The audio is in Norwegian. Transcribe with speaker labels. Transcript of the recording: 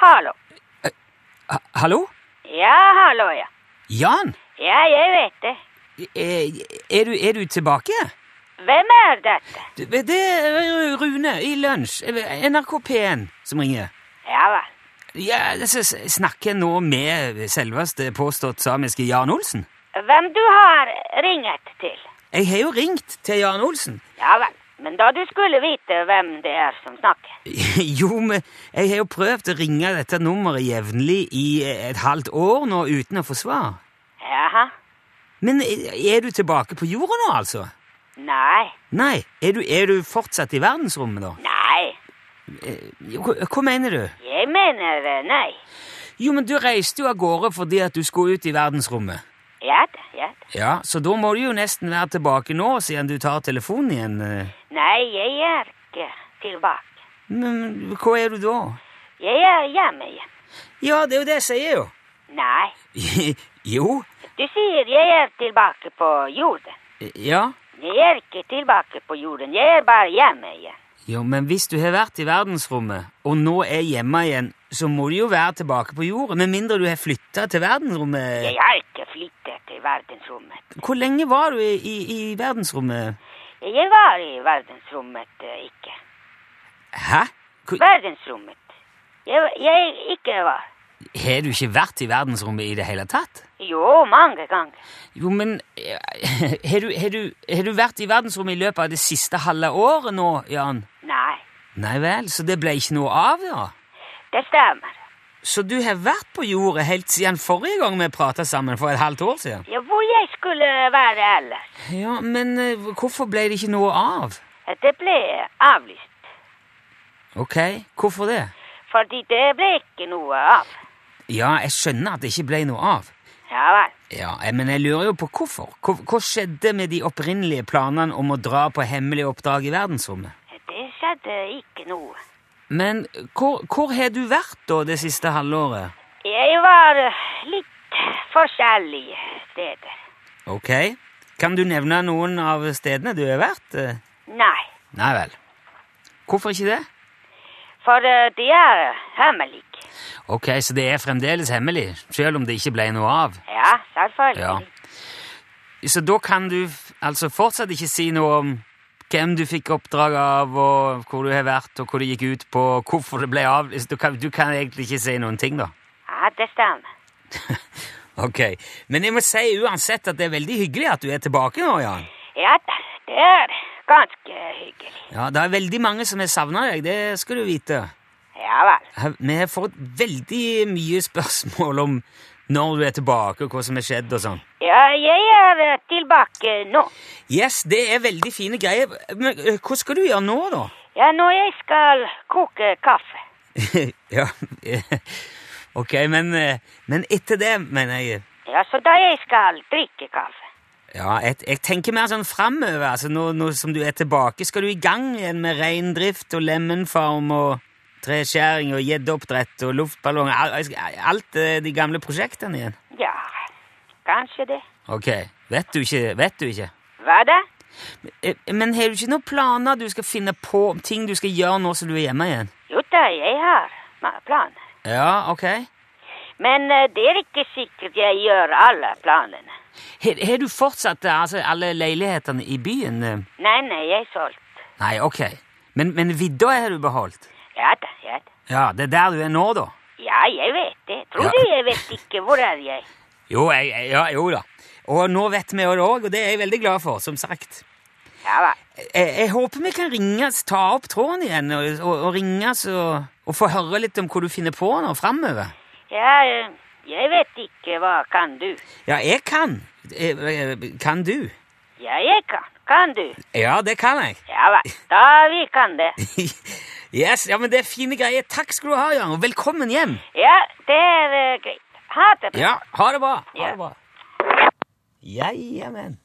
Speaker 1: hallo.
Speaker 2: Ha- Hallo?
Speaker 1: Ja, hallo, ja.
Speaker 2: Jan?
Speaker 1: Ja, jeg vet det.
Speaker 2: Er, er, du, er du tilbake?
Speaker 1: Hvem er dette?
Speaker 2: Du, Det er Rune i Lunsj, Eh, NRK P1, som ringer.
Speaker 1: Ja vel.
Speaker 2: Ja, s- s- snakker jeg nå med selveste påstått samiske Jan Olsen?
Speaker 1: Hvem du har ringet til?
Speaker 2: Jeg har jo ringt til Jan Olsen.
Speaker 1: Ja vel. Men da du skulle vite hvem det er som snakker.
Speaker 2: Jo, men jeg har jo prøvd å ringe dette nummeret jevnlig i et halvt år nå uten å få svar.
Speaker 1: Jaha.
Speaker 2: Men er du tilbake på jorda nå, altså?
Speaker 1: Nei.
Speaker 2: Nei. Er du, er du fortsatt i verdensrommet, da? Eh,
Speaker 1: Nei.
Speaker 2: Jo, Hva, hva mener du?
Speaker 1: Jeg mener eh, nei.
Speaker 2: Jo, men du reiste jo av gårde fordi at du skulle ut i verdensrommet.
Speaker 1: Ja da, ja da.
Speaker 2: Ja, Så da må du jo nesten være tilbake nå, siden du tar telefonen igjen. eh.
Speaker 1: Nei, jeg er ikke tilbake.
Speaker 2: Men hva er du da?
Speaker 1: Jeg er hjemme igjen.
Speaker 2: Ja, det er jo det jeg sier, jo.
Speaker 1: Nei.
Speaker 2: jo.
Speaker 1: Du sier jeg er tilbake på jorden.
Speaker 2: Ja.
Speaker 1: Jeg er ikke tilbake på jorden. Jeg er bare hjemme igjen.
Speaker 2: Jo, men hvis du har vært i verdensrommet, og nå er hjemme igjen, så må du jo være tilbake på jorda, med mindre du har flytta til verdensrommet.
Speaker 1: Jeg har ikke flyttet til verdensrommet.
Speaker 2: Hvor lenge var du i, i, i verdensrommet?
Speaker 1: Jeg var i verdensrommet eh, ikke.
Speaker 2: Hæ? Hvor-
Speaker 1: Verdensrommet. Jeg, jeg ikke var.
Speaker 2: Har du ikke vært i verdensrommet i det hele tatt?
Speaker 1: Jo, mange ganger.
Speaker 2: Jo, men eh, har du, har du, har du vært i verdensrommet i løpet av det siste halve året nå, Jan?
Speaker 1: Nei,
Speaker 2: Nei vel, så det ble ikke noe av, da?
Speaker 1: det stemmer.
Speaker 2: Så du har vært på jorda helt siden forrige gang vi prata sammen, for et halvt år siden?
Speaker 1: Ja, hvor jeg skulle være ellers.
Speaker 2: Ja, men eh, hvorfor ble det ikke noe av?
Speaker 1: Det ble avlyst.
Speaker 2: Ok, hvorfor det?
Speaker 1: Fordi det ble ikke noe av.
Speaker 2: Ja, jeg skjønner at det ikke ble noe av.
Speaker 1: Ja vel.
Speaker 2: Ja, eh, Men jeg lurer jo på hvorfor. Hva, hva skjedde med de opprinnelige planene om å dra på hemmelig oppdrag i verdensrommet?
Speaker 1: Det skjedde ikke noe.
Speaker 2: Men hvor, hvor har du vært da det siste halvåret?
Speaker 1: Jeg var eh, litt forskjellige steder.
Speaker 2: Ok. Kan du nevne noen av stedene du har vært? Eh,
Speaker 1: Nei,
Speaker 2: Nei vel. Hvorfor ikke det?
Speaker 1: for eh, det er hemmelig.
Speaker 2: Ok, så det er fremdeles hemmelig, selv om det ikke ble noe av.
Speaker 1: Ja, selvfølgelig.
Speaker 2: Ja. Så da kan du f- altså fortsatt ikke si noe om hvem du fikk oppdrag av, og hvor du har vært, og hvor det gikk ut på, og hvorfor det ble av. Du kan, du kan egentlig ikke si noen ting, da.
Speaker 1: Ja, det stemmer.
Speaker 2: Ok, Men jeg må si uansett at det er veldig hyggelig at du er tilbake nå, Jan.
Speaker 1: Ja, da, det er ganske hyggelig.
Speaker 2: Ja, Det er veldig mange som har savna deg, det skal du vite.
Speaker 1: Ja vel.
Speaker 2: Her- Vi har fått veldig mye spørsmål om når du er tilbake, og hva som har skjedd og sånn.
Speaker 1: Ja, jeg er eh, tilbake nå.
Speaker 2: Yes, det er veldig fine greier. Men eh, hva skal du gjøre nå, da?
Speaker 1: Ja, når jeg skal koke kaffe.
Speaker 2: ja, eh, ok, men, eh, men etter det, mener jeg
Speaker 1: Ja, så da jeg skal drikke kaffe.
Speaker 2: Ja, jeg, jeg tenker mer sånn framover. Altså, nå, nå som du er tilbake, skal du i gang igjen med reindrift og lemenfarm og treskjæring og gjeddeoppdrett og luftballonger. al- al- Alt eh, de gamle prosjektene igjen.
Speaker 1: Ja, kanskje det.
Speaker 2: Ok, vet du ikke? Vet du ikke?
Speaker 1: Hva da?
Speaker 2: Eh, Men har du ikke noen planer du skal finne på om ting du skal gjøre nå som du er hjemme igjen?
Speaker 1: Jo da, jeg har ma- planer.
Speaker 2: Ja, ok.
Speaker 1: Men eh, det er ikke sikkert jeg gjør alle planene.
Speaker 2: Har har du fortsatt eh, altså, alle leilighetene i byen? eh?
Speaker 1: Nei, nei, jeg er solgt.
Speaker 2: Nei, ok. Men, men vidda har du beholdt?
Speaker 1: Ja da, ja da.
Speaker 2: Ja, det er der du er nå, da?
Speaker 1: Ja, jeg vet det. Tror du jeg vet ikke hvor er jeg?
Speaker 2: Jo, jeg, jeg- ja, jo da. Og nå vet vi jo det òg, og det er jeg veldig glad for, som sagt.
Speaker 1: Ja vel.
Speaker 2: Jeg, jeg håper vi kan ringes, ta opp tråden igjen og, og, og ringes og, og få høre litt om hva du finner på nå framover.
Speaker 1: Ja, eh, jeg vet ikke hva kan du.
Speaker 2: Ja, jeg kan. Eh, eh, Kan du?
Speaker 1: Ja, jeg kan. Kan du?
Speaker 2: Ja, det kan jeg.
Speaker 1: Ja vel. Da vi kan det.
Speaker 2: Yes, ja, men Det er fine greier. Takk skal du ha, Jan, og velkommen hjem.
Speaker 1: Ja, det er eh, greit. Ha det bra.
Speaker 2: Ja, ha det bra. Ha
Speaker 1: Ja.
Speaker 2: det bra. Ja, jamen.